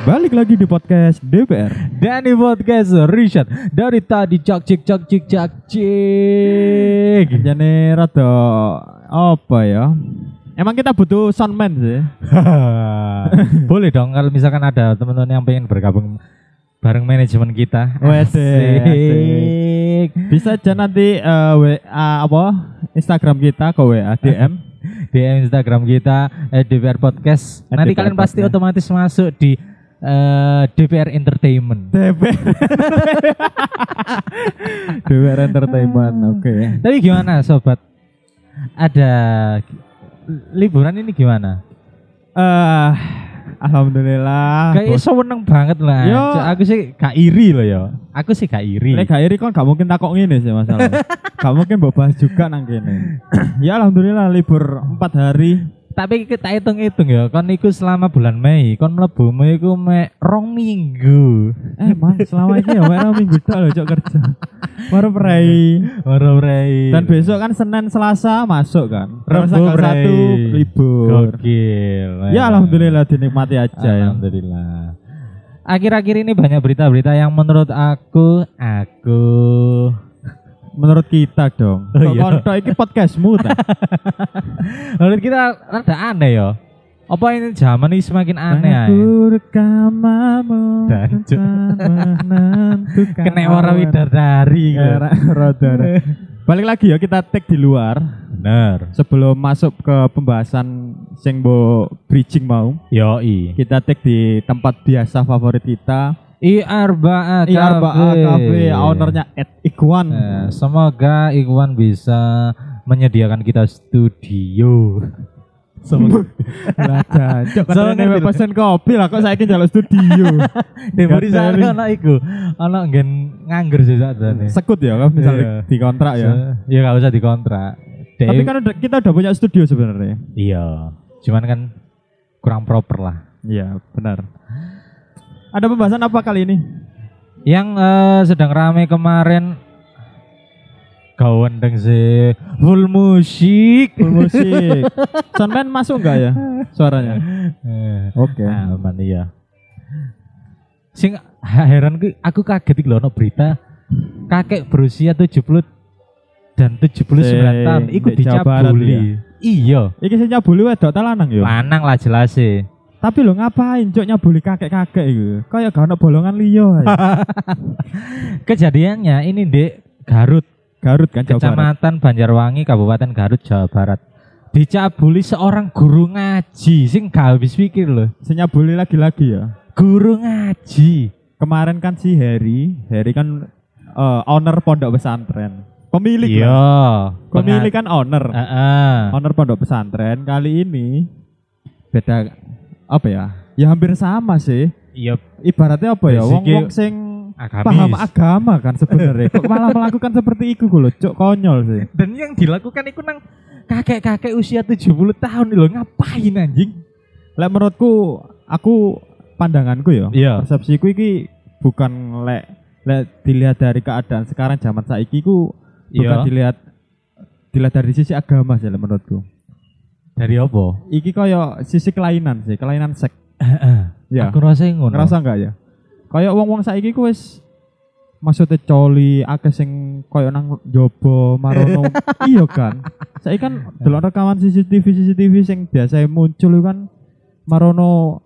Balik lagi di podcast DPR. Danny Podcast Richard dari tadi cak cik cak cik cak cik. Jane rada apa ya? Emang kita butuh soundman sih. Boleh dong kalau misalkan ada teman-teman yang pengen bergabung bareng manajemen kita. Asik. Asik. Bisa aja nanti eh, WA apa? Instagram kita ke WA DM. DM Instagram kita eh, DPR Podcast. Eh, Nanti DPR kalian pasti Podcast. otomatis masuk di eh, DPR Entertainment. DPR. DPR Entertainment. Oke. Tapi gimana sobat? Ada liburan ini gimana? Eh, alhamdulillah. Ah, Kayak bos- seneng banget lah. Yo. Cuk, Aku sih gak iri loh ya. Aku sih gak iri. Lek gak iri kon gak mungkin takok ngene sih masalah. gak mungkin mbok bahas juga nang kene. ya alhamdulillah libur 4 hari. Tapi kita hitung-hitung ya, kon iku selama bulan Mei, kon mlebu Mei iku mek rong minggu. Eh, Mang, selama ini ya baru minggu tok lho cok kerja. Baru perai. Ora rei. Dan besok kan Senin Selasa masuk kan. Terus Rebo tanggal Bray. satu libur. gokil. Ya alhamdulillah dinikmati aja ya. Alhamdulillah. Akhir-akhir ini banyak berita-berita yang menurut aku aku Menurut kita dong. Oh, Kok iya. kontok iki podcastmu ta? menurut kita rada aneh ya. Apa ini zaman ini semakin aneh ae. Anggur kamamu Dan, Cok. menentukan Kena warna widadari. gitu. Era roda-roda. Balik lagi ya kita tag di luar Bener. sebelum masuk ke pembahasan sing bo bridging mau. Yoi. Kita tag di tempat biasa favorit kita. IR Iya, IRBA Cafe, ownernya Ed Ikwan. Iya. Eh, semoga Iwan bisa menyediakan kita studio. Semoga Lah jancuk Soalnya katanya ngerti. pesen kopi lah kok saiki njaluk studio. Debori sana Gatel. ana iku. Ana nggen nganggur sih sakjane. Sekut ya kan misalnya Iya. dikontrak ya. Ya enggak usah dikontrak. Dewi- Tapi kan udah- kita udah punya studio sebenarnya. iya. Cuman kan kurang proper lah. Iya, benar. Ada pembahasan apa kali ini? Yang eh, sedang rame kemarin Gawendeng sih full musik. Full musik. Soundman masuk enggak ya suaranya? Nah. Eh. Oke. Aman iya. Sing heran ku aku kaget iki lho ono berita kakek berusia 70 dan 79 Sing tahun iku di Jawa Barat ya? dicabuli. Iya, Iki sing nyabuli wedok ta lanang ya? lanang lah jelas sih. Tapi lo ngapain cok nyabuli kakek-kakek iku? Kayak gak ono bolongan liya. ae. Kejadiannya ini di Garut, Garut kan Jawa Barat. Kecamatan Banjarwangi, Kabupaten Garut, Jawa Barat. Dicabuli seorang guru ngaji, sing gak habis pikir loh. Sing nyabuli lagi-lagi ya. Guru ngaji. kemarin kan si Harry, Harry kan eh, owner pondok pesantren. Pemilik lah. Iya. Ah. Pemilik Pemilik. kan owner. Owner pondok pesantren kali ini beda apa ya? Ya hampir sama sih. Iya. Ibaratnya apa ya? Basicnya Wong-wong sing agamis. paham agama kan sebenarnya. Kok malah melakukan seperti itu gue cok konyol sih. dan yang dilakukan itu nang kakek-kakek usia 70 tahun loh ngapain anjing Lek menurutku aku pandanganku ya. iya persepsiku iki bukan lek lek dilihat dari keadaan sekarang zaman saiki ku bukan Iya. dilihat dilihat dari sisi agama sih lek menurutku. dari apa Iki kaya sisi kelainan sih, kelainan sek. Ya. aku rasa ngono Ngerasa enggak ya? Kaya wong-wong saiki ku wis maksudnya coli akeh sing kaya nang jobo marono. iya kan? Saiki kan delok rekaman CCTV CCTV sing biasa muncul iku kan marono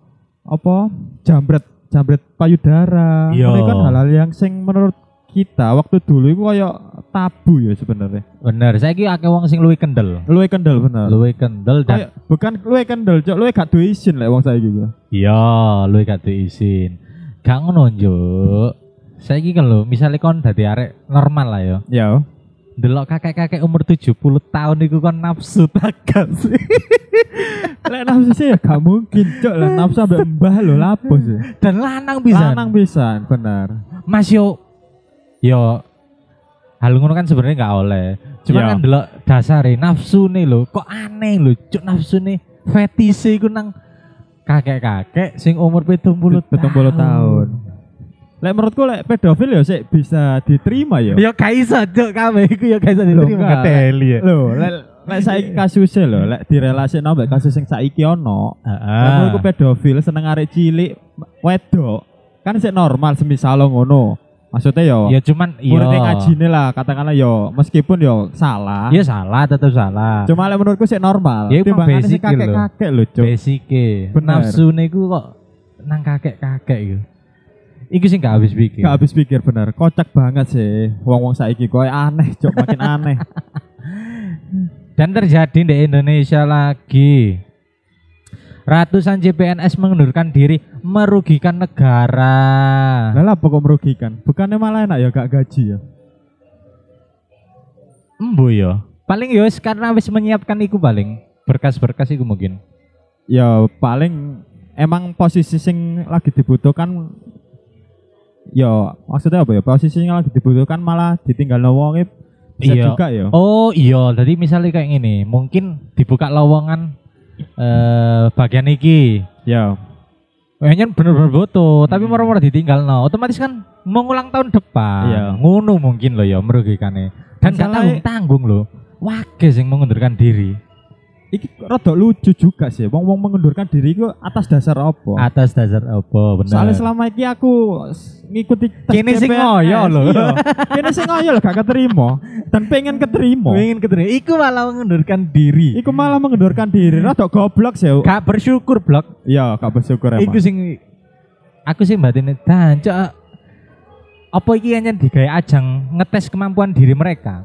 apa? jambret jambret payudara. Iya. Ini kan hal-hal yang sing menurut kita waktu dulu itu kaya tabu ya sebenarnya. bener saya kira akeh wong sing luwih kendel Luwe kendel bener. luwih kendel dan Kaya, bukan luwe kendel, cok luwe gak duwe isin lek wong saiki ku. iya luwih gak diizin gak ngono njuk saya kira kan lho misalnya kon dari arek normal lah ya Ya. delok kakek-kakek umur 70 tahun itu kon nafsu tak gak sih Lek nafsu sih ya gak mungkin, cok. Lah nafsu ambek mbah lho lapo sih. dan lanang bisa Lanang pisan, bener. Mas yo yo hal ngono kan sebenarnya nggak oleh. Cuman Iya. kan delok dasare nafsu nih lo, kok aneh lo, cuk nafsu nih fetise iku nang kakek-kakek sing umur 70 70 tahun. Lek menurutku lek pedofil ya sih bisa diterima ya. Ya gak iso cuk kabeh iku ya gak iso Loh, diterima enggak. ngeteli ya. Lho, lek lek saiki Iya. kasusnya lho, lek direlasikno ambek kasus sing saiki ono. Lek Heeh. menurutku pedofil seneng arek cilik wedok kan sik normal semisal lo ngono. Maksudnya yo Ya cuman muridnya iya. ngajine lah katakanlah yo meskipun yo salah. Iya salah tetap salah. Cuma lek menurutku sik normal. Ya, iku Timbangannya sih basic lho. kakek-kakek lho, Cuk. Basike. Bener. Nafsune ku kok nang kakek-kakek iku. Iku sing gak habis pikir. Gak habis pikir bener, kocak banget sih. Wong-wong saiki koyo aneh, Cuk, makin aneh. Dan terjadi di Indonesia lagi. Ratusan CPNS mengundurkan diri merugikan negara. Lah lah pokok merugikan. Bukannya malah enak ya gak gaji ya. Embo ya. Paling ya wis karena wis menyiapkan iku paling berkas-berkas iku mungkin. Ya paling emang posisi sing lagi dibutuhkan ya maksudnya apa ya? Posisi yang lagi dibutuhkan malah ditinggal wonge bisa Iya. juga ya. Oh iya, jadi misalnya kayak gini, mungkin dibuka lowongan eh bagian iki. Ya. Kayaknya bener-bener butuh, Hmm. tapi moro-moro ditinggal no. Otomatis kan mau ngulang tahun depan. Iya. Ngono mungkin loh ya merugikannya. Dan gak Masalahnya- tanggung-tanggung loh. Wage sing mengundurkan diri Iki rada lucu juga sih. Wong-wong mengundurkan diri ku atas dasar apa? atas dasar apa bener. Oh. Soalnya selama ini aku s- ngikuti tes Kene sing CPNS. ngoyo lho. Iya. Kene sing ngoyo lho gak keterima dan pengen keterima. Pengen keterima, iku malah mengundurkan diri. Iku malah mengendorkan diri, Hmm. rada goblok sih. Gak bersyukur blok. Ya, gak bersyukur emang. Iku sing aku sing batinnya dancok. Apa iki hanya digawe ajang ngetes kemampuan diri mereka?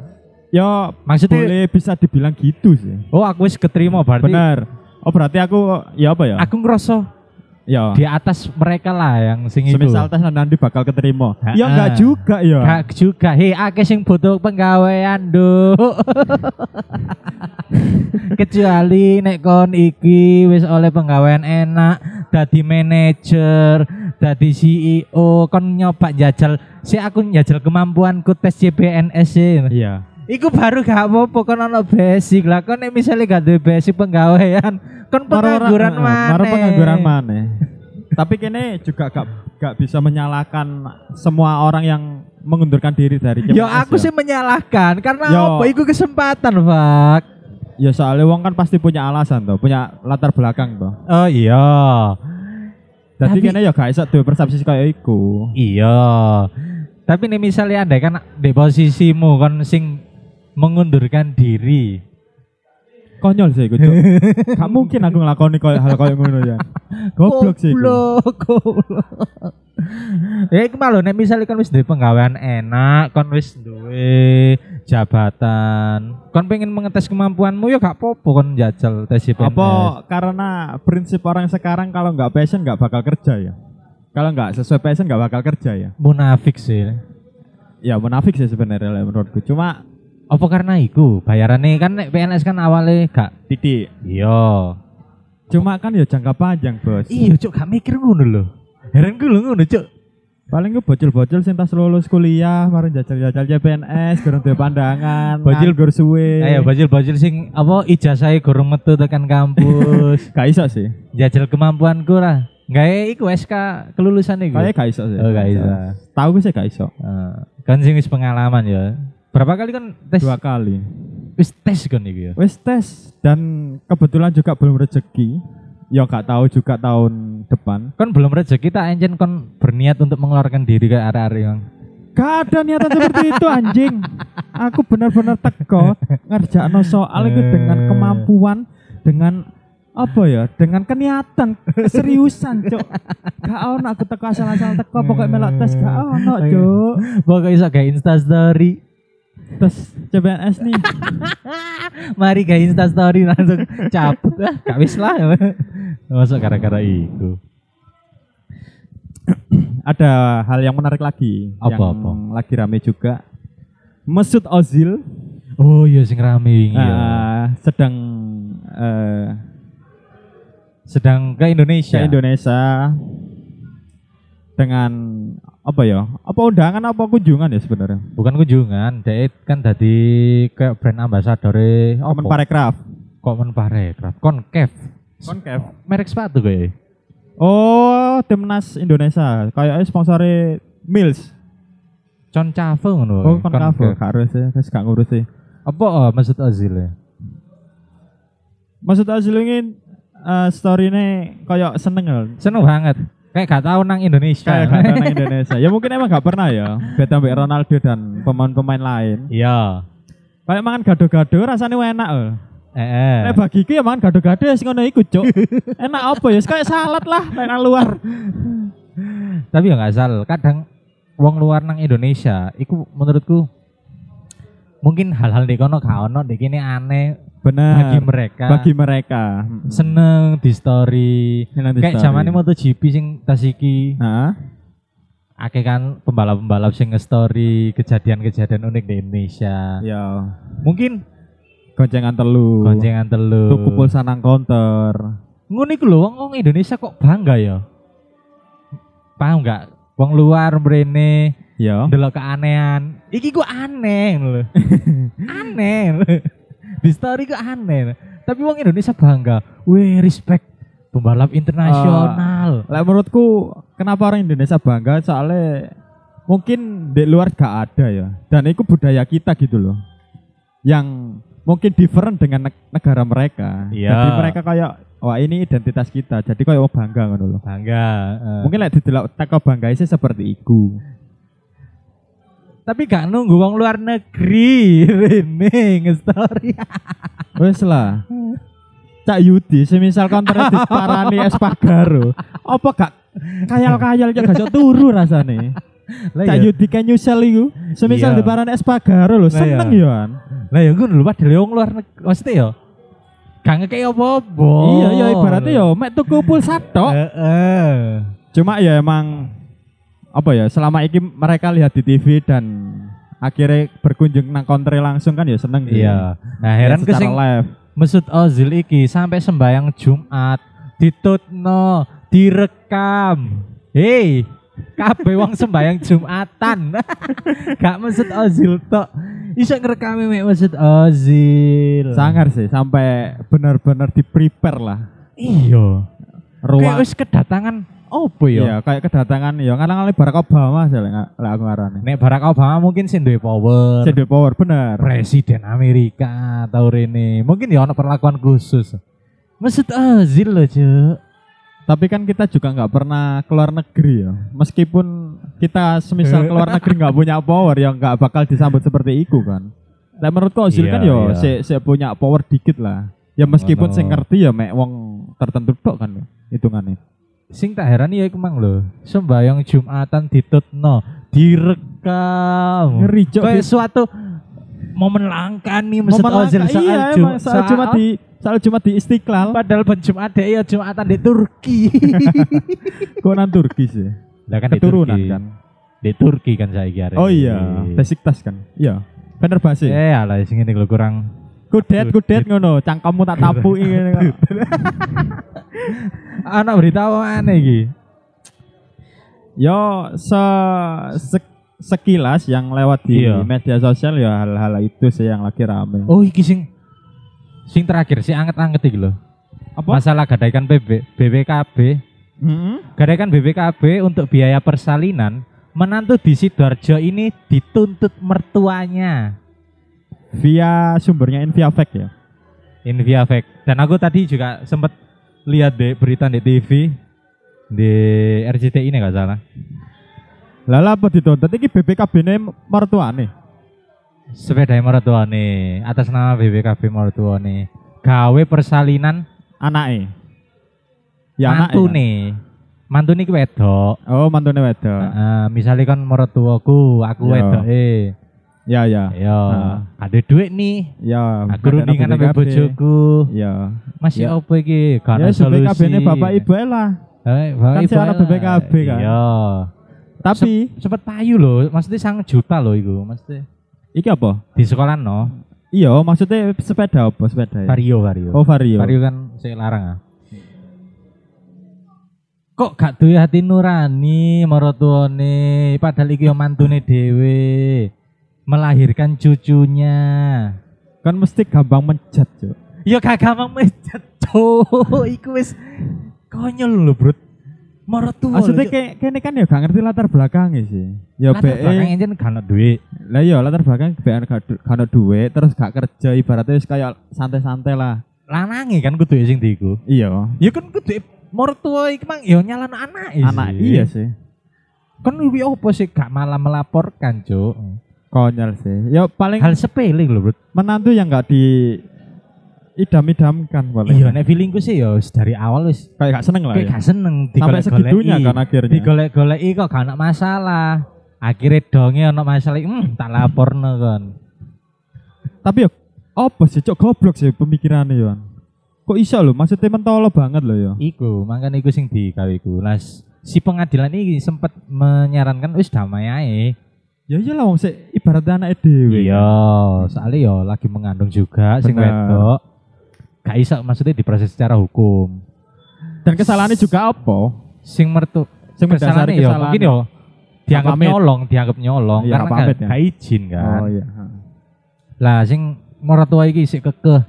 Ya, Maksudnya boleh bisa dibilang gitu sih. oh aku wis keterima berarti Benar. Oh, berarti aku ya apa ya? aku ngerasa ya. di atas mereka lah yang sing itu. Semisal tes nanti bakal keterima. gitu. Ha-ha. Ya enggak juga ya. Gak juga. Hei, akeh sing butuh penggawean, Nduk. Kecuali nek kon iki wis oleh penggawean enak, dadi manajer, dadi CEO, kon nyoba jajal. Si aku jajal kemampuanku tes CPNS sih. Iya. e. Iku baru gak apa-apa kon ono basic lah. Kon nek misale gak duwe basic penggawean, kon pengangguran mana? Maro pengangguran maneh. Tapi kene juga gak gak bisa menyalahkan semua orang yang mengundurkan diri dari Yo CPNS aku ya. sih menyalahkan karena Yo. apa? Iku kesempatan, Pak. ya soalnya wong kan pasti punya alasan toh, punya latar belakang toh. Oh iya. Jadi Tapi- kene ya gak iso duwe persepsi kaya iku. Iya. Tapi nih misalnya anda kan di posisimu kon sing mengundurkan diri. Konyol sih iku, Cuk. gak mungkin aku nglakoni koyo hal koyo ngono ya. Goblok sih gitu. iku. Goblok, goblok. Ya iku malah nek misalnya kon wis duwe penggawean enak, kon wis duwe jabatan. Kon pengen mengetes kemampuanmu ya gak apa-apa kon jajal tes CPNS. Apa karena prinsip orang sekarang kalau nggak passion nggak bakal kerja ya? Kalau nggak sesuai passion nggak bakal kerja ya? munafik sih. Ya munafik sih sebenarnya lah menurutku. Cuma Apa karena iku bayarannya kan nek PNS kan awalnya gak titik. iya. Cuma kan ya jangka panjang bos. Iya cuk gak mikir ngono lho. Heran ku lho ngono cuk. Paling gue bocil-bocil sing tas lulus kuliah, kemarin jajal-jajal CPNS, kurang duwe pandangan, Bocil- nganggur suwe. Ayo bajil-bajil sing apa ijazah gorong metu tekan kampus. Gak iso sih. Jajal kemampuanku lah. Gawe iku SK kelulusan iku. Kayaknya gak iso sih. Oh, gak iso. Tahu gue sih gak iso. Eh, kan sing wis pengalaman ya. Berapa kali kan tes Dua kali. wis tes kan iku ya. Wis tes dan kebetulan juga belum rezeki. Ya gak tahu juga tahun depan. Kon belum rezeki tak encen kon berniat untuk mengeluarkan diri ke arah-arah yang Gak ada niatan seperti itu anjing. Aku benar-benar teko ngerjakno soal itu dengan kemampuan, dengan apa ya, dengan keniatan, keseriusan, Cuk. Gak ono aku teko asal-asal teko pokoknya melok tes gak ono, Cuk. Pokoknya iso gawe Insta story. Tes CPNS nih. Mari gawe Insta story langsung cabut ah. Gak wis lah. Masuk gara-gara iku. Ada hal yang menarik lagi Apa, yang lagi rame juga. Mesut Ozil Oh iya sing rame iya. eh, sedang eh, Sedang ke ke Indonesia. Indonesia dengan apa ya? Apa undangan apa kunjungan ya sebenarnya? bukan kunjungan dia kan tadi kayak brand ambassador Komen Parekraf. Komen Parekraf Konkev Konkev. ya? merek sepatu ya? kayak Oh, timnas Indonesia. Kayaknya sponsornya Mills. Concave ngono ya? Oh, Konkev. Gak harus sih, terus gak ngurus sih. apa oh, maksud Ozil Maksud Azul ini eh, story-nya kayak seneng loh. seneng banget Kayak gak tahu nang Indonesia. kayak gak ada nang Indonesia ya mungkin emang gak pernah ya beda mbak Ronaldo dan pemain-pemain lain Iya. kayak mangan gado-gado rasanya enak loh Eh, eh. Nek bagiku ya mangan gado-gado ya sing ngono iku, Cuk. Enak apa ya? Kayak salad lah nek nang luar. Tapi ya gak salah. Kadang wong luar nang Indonesia iku menurutku mungkin hal-hal di kono gak ono di kini aneh bagi Bener. mereka. Nah, Bagi mereka. seneng di story. Kayak zamannya MotoGP sing tas iki Heeh. akeh kan pembalap-pembalap sing nge-story kejadian-kejadian unik di Indonesia. Ya, Mungkin goncengan telu. goncengan telu. Tuku pulsa nang counter. Ngono iku lho wong wong Indonesia kok bangga ya. Paham nggak? Wong luar mrene Ya. ndelok keanehan. Iki ku aneh ngono lho. aneh. ngono lho. Di story ku aneh. Tapi wong Indonesia bangga. Wih, respect pembalap internasional. Lah menurutku kenapa orang Indonesia bangga soalnya mungkin di luar gak ada ya. Dan itu budaya kita gitu loh. Yang mungkin different dengan neg- negara mereka. Iya. Jadi mereka kayak wah ini identitas kita. Jadi kayak wah, bangga ngono loh. Bangga. eh. Mungkin lek didelok teko banggae sih seperti iku. tapi gak nunggu wong luar negeri rene nge-story. Wes lah. Cak Yudi, semisal kontra disparani Espargaro, apa gak kayal-kayal gak iso turu rasane. Lah Cak Yudi kan nyusel iku. Semisal Iya. diparani Espargaro lho, Lah seneng iya. yo an. Lah ya gue dulu padahal wong luar negeri maksudnya ya. Gak ngekei apa-apa. Iya, iya ibaratnya yo mek tuku pulsa tok. Heeh. Cuma ya emang apa ya, selama ini mereka lihat di TV dan akhirnya berkunjung nang kontre langsung kan ya seneng sih. Iya. Nah, Ya, heran ke secara sing live. Mesut Ozil iki sampai sembayang Jumat ditutno, direkam. Hei, kabeh wong sembayang Jumatan. Gak Mesut Ozil tok. Iso ngerekam mek Mesut Ozil. Sangar sih sampai benar-benar di prepare lah Iya. Kayak ruang. wis kedatangan opo ya? Iya, kayak kedatangan ya ngarang-ngarang Barack Obama aja lah nggak- lah aku ngarane. Nek Barack Obama mungkin sing duwe power. CD Power bener. Presiden Amerika atau Rene. Mungkin ya ono perlakuan khusus. Mesut Ozil loh, Cuk. Tapi kan kita juga nggak pernah keluar negeri ya. Meskipun kita semisal keluar negeri nggak punya power ya nggak bakal disambut seperti itu kan. Lah menurutku Ozil Iya, kan yo iya. sik sik punya power dikit lah. Ya meskipun Ngono. sing ngerti ya mek wong tertentu tok kan hitungannya. Sing tak heran ya iku mang lho. Sembayang Jumatan ditutno, direkam. Ngeri cok. Kayak suatu momen langka nih Mesut Momen Ozil langka, soal, iya, Ju- emang, soal Jumat di soal Jumat di Istiqlal padahal ben Jumat dia ya Jumatan di Turki. kok nang Turki sih. lah kan Keturunan kan. Di Turki kan saya kira. Oh iya, Besiktas kan. Iya. Fenerbahce. Eh, alah sing ngene lho kurang Kudet, kudet ngono, cangkemmu tak tapuki ngene kan. kok. ana berita apa aneh iki? Yo se, se- sekilas yang lewat di Iya. media sosial ya hal-hal itu sih yang lagi rame. Oh iki sing sing terakhir sing anget-anget iki lho. Apa? Masalah gadaikan BB, BBKB. Mm-mm. Gadaikan BBKB untuk biaya persalinan menantu di Sidoarjo ini dituntut mertuanya. Via sumbernya Inviafek ya. In via fact. Dan aku tadi juga sempat lihat deh berita di TV di RCTI ini nggak salah. Lala apa ditonton iki BPKB ne mertuane. Sepeda mertuane atas nama BBKB mertuane. Gawe persalinan Anake. Ya anake. mantune. Mantune iki wedok. kan? Oh, mantune wedok. Heeh, misalnya kan mertuaku, aku Iya. wedok eh. Ya ya. Yo, Heeh. ada duit nih. Ya, Aku rundingan sampe bojoku. Ya. Masih Ya. opo iki? Gak Ya ada solusi. BPKB ne bapak ibu ae lah. Eh, bapak Kan ibu sih anak lah. BPKB kan. Iya. Tapi Sempet payu loh, maksudnya sang juta loh iku, maksudnya iki apa? di sekolah no, Iya, maksudnya sepeda apa sepeda ya? vario vario. Oh, vario. Vario kan saya larang ah. Kok gak duwe hati nurani maratuane padahal iki yo mantune dhewe melahirkan cucunya. Kan mesti gampang mencet, Cuk. Ya gak gampang mejat cuk, iku wis konyol lho, Bro. Maratua. Maksudnya kayak kene kan ya gak ngerti latar belakangnya sih. Ya latar belakang BE, enjen gak ono duit. lah ya latar belakang BE gak du- gak ada duit, terus gak kerja ibaratnya wis kayak santai-santai lah. Lanange kan kudu sing diiku. Iya. Ya kan kudu mertua iki mang yo nyalan anak Anak iya sih. Kon luwi opo sih gak malah melaporkan, Cuk. Konyol sih. Ya paling Hal sepele lho, Bro. menantu yang nggak di idam-idamkan paling. Iya, nek feelingku sih yo dari awal wis Kayak gak seneng lah kayak ya. gak Iya. seneng Sampai segitunya kan akhirnya. digolek-goleki kok gak ana masalah. Akhirnya donge ana masalah, hmm, tak laporno kon. Tapi ya apa sih cok goblok sih pemikirannya Yon. Kok iso lho maksudnya mentolo banget lho ya. Iku, makanya iku sing digawe iku. Lah s- si pengadilan ini sempat menyarankan wis damai ae. Ya iyalah wong sik ibaratnya anake dhewe. Iya, soalnya yo lagi mengandung juga sing Bener. wedok. Gak iso maksudnya diproses secara hukum. Dan kesalahannya juga apa? Sing mertu Sing mendasari kesalahannya yo kesalahan. mungkin yo dianggap pamit. nyolong, dianggap nyolong Iya, karena gak gak, pamit ya. gak izin kan. Oh iya. ha. Lah sing mertua iki isih kekeh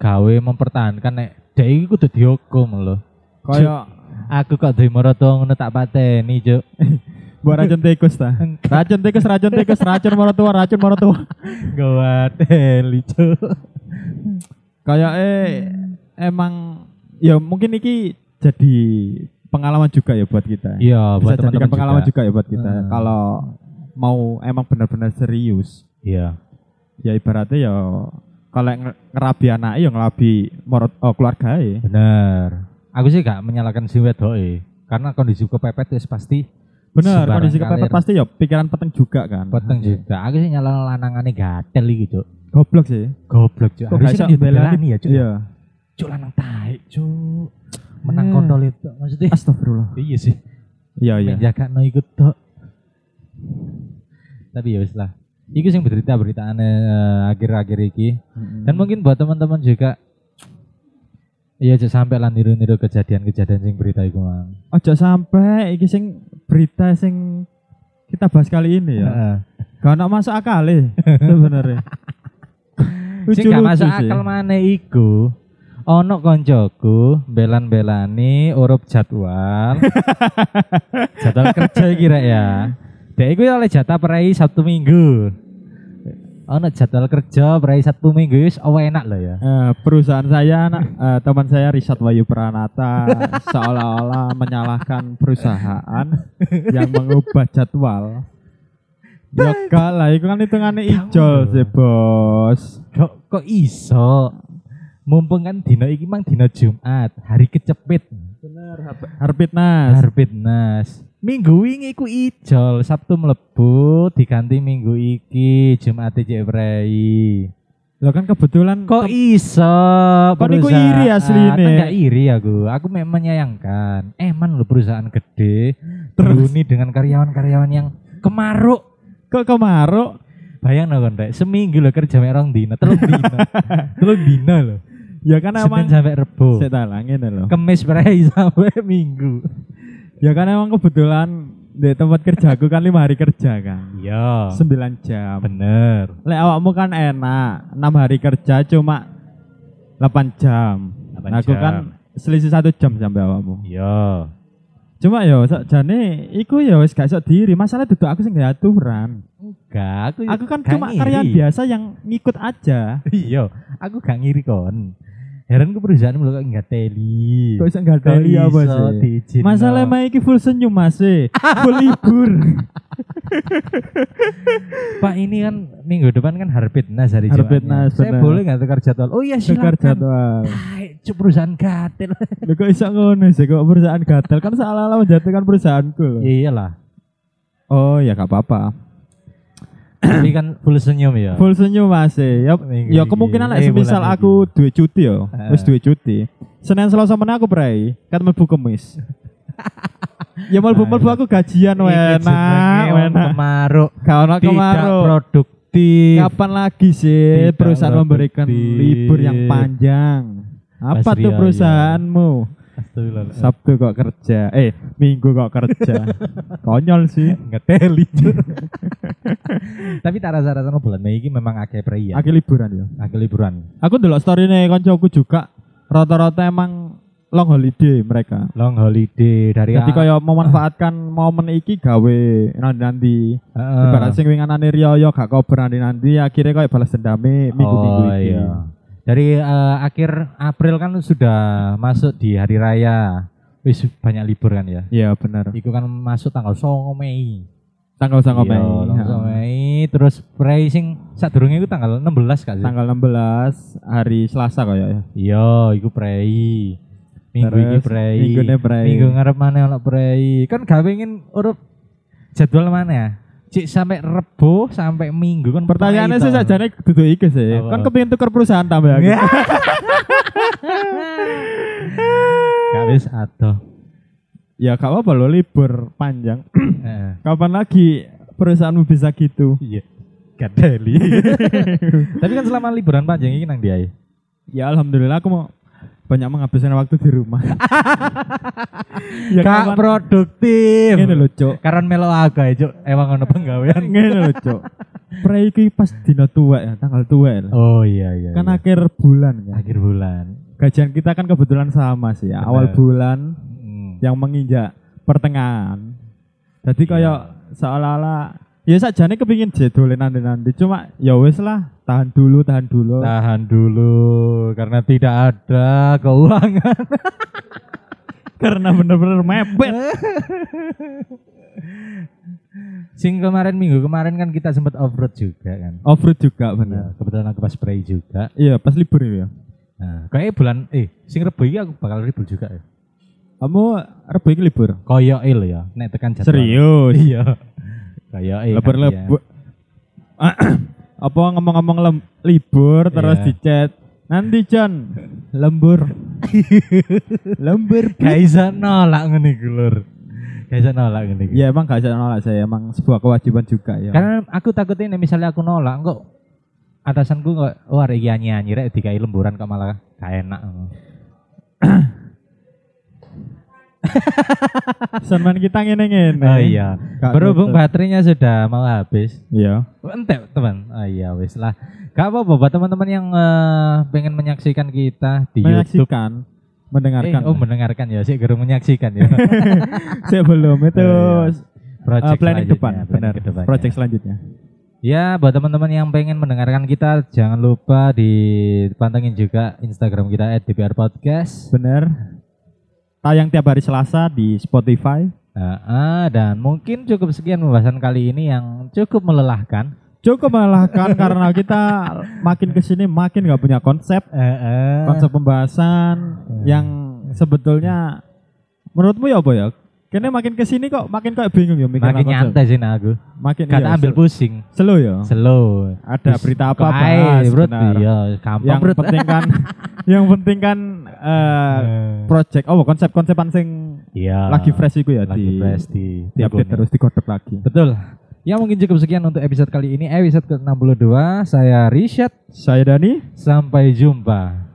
gawe mempertahankan nek dhek iki kudu dihukum lho. Kaya Aku kok duwe mertua ngono tak pateni, Cuk. buat racun tikus ta. Racun tikus, racun tikus, racun maratua, racun maratua. Gawateli, Cuk. Kayak eh emang ya mungkin iki jadi pengalaman juga ya buat kita. Bisa Iya, buat jadikan teman-teman pengalaman juga. ya buat kita. Hmm. Kalau mau emang benar-benar serius, Iya. ya ibaratnya ya kalau nge- ngerabi anak ya ngelabi morot oh, keluarga ya. Bener. Aku sih gak menyalahkan si wedok e. karena kondisi kepepet wis pasti Hmm. Bener, Sembarang kondisi kepepet kalir. pasti ya pikiran peteng juga kan. peteng juga. Aku sih nyalahkan lanangane gatel iki, Cuk. Goblok sih. Goblok, Kok Cuk. gak iso Harusnya kan belani dibelani ya, Cuk. Iya. Cuk lanang taik, Cuk. Menang Hmm. kondol itu maksudnya. Astagfirullah. Iya sih. Iya, iya. Menjaga no ikut tok. Tapi ya wis lah. Iku sing berita beritaane akhir-akhir iki. Dan Hmm. mungkin buat teman-teman juga Iya, Cuk, sampai lah niru-niru kejadian-kejadian sing berita iku, Mang. Ojo sampai iki sing berita sing kita bahas kali ini ya. Heeh. Gak nak masuk akal ya sebenarnya. Sing gak masuk akal maneh iku. Ono koncoku belan-belani urup jadwal. jadwal kerja iki rek ya. Dek iku ya oleh jatah perai Sabtu Minggu. Ono jadwal kerja perai Sabtu Minggu wis awe enak lho ya. Eh, perusahaan saya anak eh, teman saya Risat Wayu Pranata seolah-olah menyalahkan perusahaan yang mengubah jadwal. Ya gak lah, itu kan hitungannya ijol sih bos. Kok kok iso? Mumpung kan dino iki mang dino Jumat, hari kecepit. Bener, Harpitnas. Harbit Nas. Minggu wingi iku ijol, Sabtu mlebu diganti minggu iki, Jumat cek prei. Lo kan kebetulan Kok iso? Kon iku iri perusahaan? asline. Enggak iri aku. Aku memang menyayangkan. Eman lo perusahaan gede Terus? teruni dengan karyawan-karyawan yang kemaruk. kok kemaruk Bayang no kon Rek. seminggu lo kerja mek rong dina, telung dina. telung dina lo. ya kan Senin emang sampai Rebo. saya talangin loh. Kemis berai sampai Minggu. Ya kan emang kebetulan di tempat kerjaku kan lima hari kerja kan. Iya. 9 jam. Bener. Lek awakmu kan enak, 6 hari kerja cuma 8 jam. 8 Nah, aku jam. kan selisih satu jam sampai awakmu. Iya. Cuma ya sakjane iku ya wis gak iso diri. Masalah duduk aku sing gak aturan. Enggak, aku Aku kan gak cuma ngiri. karyawan biasa yang ngikut aja. Iya, aku gak ngiri kon. Heran ku perusahaan mulu kok enggak teli. Kok iso gak teli apa sih? Masalah mah iki full senyum masih, full libur. Pak ini kan minggu depan kan Harbitnas hari Harbitnas, Jumatnya. Saya benar. boleh nggak tukar jadwal? Oh iya silakan. Tukar jadwal. Tai, cuk, perusahaan gatel. Lho kok iso ngono sih kok perusahaan gatel kan seolah-olah menjatuhkan perusahaanku loh. Ya iyalah. Oh ya gak apa-apa. Tapi kan full senyum ya. Full senyum masih. Ya, Minggu ya iki. kemungkinan Eh, lek semisal bulan iki. aku duwe cuti ya, Heeh. wis duwe cuti. Senin Selasa meneh aku prei, kan mlebu Kamis. ya mlebu-mlebu aku gajian Iki enak, jenenge wong enak. Kemaruk. Gak ono Tidak kemarau. produktif. Kapan lagi sih Tidak perusahaan memberikan produktif. libur yang panjang? Apa Mas Ria, tuh iya. perusahaanmu? Astagfirullah. Sabtu kok kerja, eh Minggu kok kerja. Konyol sih. Ngeteli cuk. Tapi tak rasa-rasa no bulan Mei ini memang akeh pria. Akhir liburan ya. Akeh Nah, liburan. Aku delok story nih koncoku juga rata-rata emang long holiday mereka. Long holiday dari Jadi kaya memanfaatkan momen iki gawe nanti-nanti. Heeh. Ibarat sing winganane riyo gak kober nanti-nanti akhirnya kaya balas dendame minggu-minggu ya? Oh, iki. iya. dari eh, akhir April kan sudah masuk di hari raya. Wis banyak libur kan ya. Iya bener. Iku kan masuk tanggal 9 Mei. Tanggal sangat Iya, tanggal 9 Mei. Terus pricing sadurunge iku tanggal 16 kan sih? Tanggal 16 hari Selasa kaya ya. Iya, iku prei. Minggu iki Terus, prei. Minggunya prei. Minggu ngarep mana ono prei. Kan gawe ingin urup jadwal mana ya? Cik sampai Rebo sampai Minggu kan Pertanyaannya prei sih to. sajane duduk iki sih. Apa? Kan kepengin tuker perusahaan tambah Ya. Gak wis adoh. Ya gak apa-apa lo libur panjang. Heeh. Kapan lagi perusahaanmu bisa gitu? Iya. Gadeli. Tapi kan selama liburan panjang ini nang diae. Ya alhamdulillah aku mau banyak menghabiskan waktu di rumah. ya Kak kapan produktif. ngene lho, Cuk. Karon melo aga cuk, emang ono penggawean. Ngene lho, Cuk. Pre iki pas dina tua ya, tanggal tua ya. Oh iya iya. Kan iya. akhir bulan kan. akhir bulan. Gajian kita kan kebetulan sama sih ya. Awal Bener. bulan Hmm. yang menginjak pertengahan. Jadi Iya. kayak seolah-olah ya sajane kepingin jadwalin nanti-nanti cuma ya wis lah tahan dulu tahan dulu Tahan dulu karena tidak ada keuangan. karena bener-bener mepet Sing kemarin minggu kemarin kan kita sempat offroad juga kan. offroad juga Nah, bener kebetulan aku pas spray juga. iya pas libur ya Nah, kayaknya bulan eh sing Rebo iki aku bakal libur juga ya. kamu rebo iki libur Koyoke lho ya, nek tekan jadwal. serius Iya. Koyoke. libur kan, iya. libur apa ngomong-ngomong lem- libur terus Iya. dicet nanti John lembur lembur Gak iso nolak ngene iku lur. Gak iso nolak ngene Iya. iku. ya emang gak bisa nolak saya emang sebuah kewajiban juga ya Iya, Karena aku takutnya nek misalnya aku nolak kok atasanku kok wah iki nyanyi rek dikai lemburan kok malah gak enak. Senman kita ngene-ngene. Oh iya. Gak Berhubung nutup. baterainya sudah mau habis. Iya. Entek teman. Oh iya wis lah. Gak apa-apa buat teman-teman yang eh, pengen menyaksikan kita di YouTube. Menyaksikan, mendengarkan. Eh, oh mendengarkan ya sih gerung menyaksikan ya. Saya belum itu Oh, iya. eh, planning selanjutnya, depan, planning benar. kedepannya. Project selanjutnya. Ya buat teman-teman yang pengen mendengarkan kita jangan lupa dipantengin juga Instagram kita @dprpodcast. Benar. Tayang tiap hari Selasa di Spotify. Nah, ah, dan mungkin cukup sekian pembahasan kali ini yang cukup melelahkan. Cukup melelahkan karena kita makin kesini makin nggak punya konsep, Eh, eh. konsep pembahasan Iya. yang sebetulnya menurutmu ya apa ya? Kayaknya makin kesini kok makin kayak bingung ya mikir makin nyantai sih nah aku. Makin iya, Kata ambil slow- pusing. slow ya. Slow. Ada Terus berita apa kok ae, bahas, Bro? benar. Iya, gampang yang Bro. penting kan yang penting kan eh, project oh konsep-konsepan sing Iya. lagi fresh iku ya lagi di fresh di di update Google. terus digodok lagi Betul. Ya mungkin cukup sekian untuk episode kali ini. Episode ke-62 saya Rishad. saya Dani Sampai jumpa.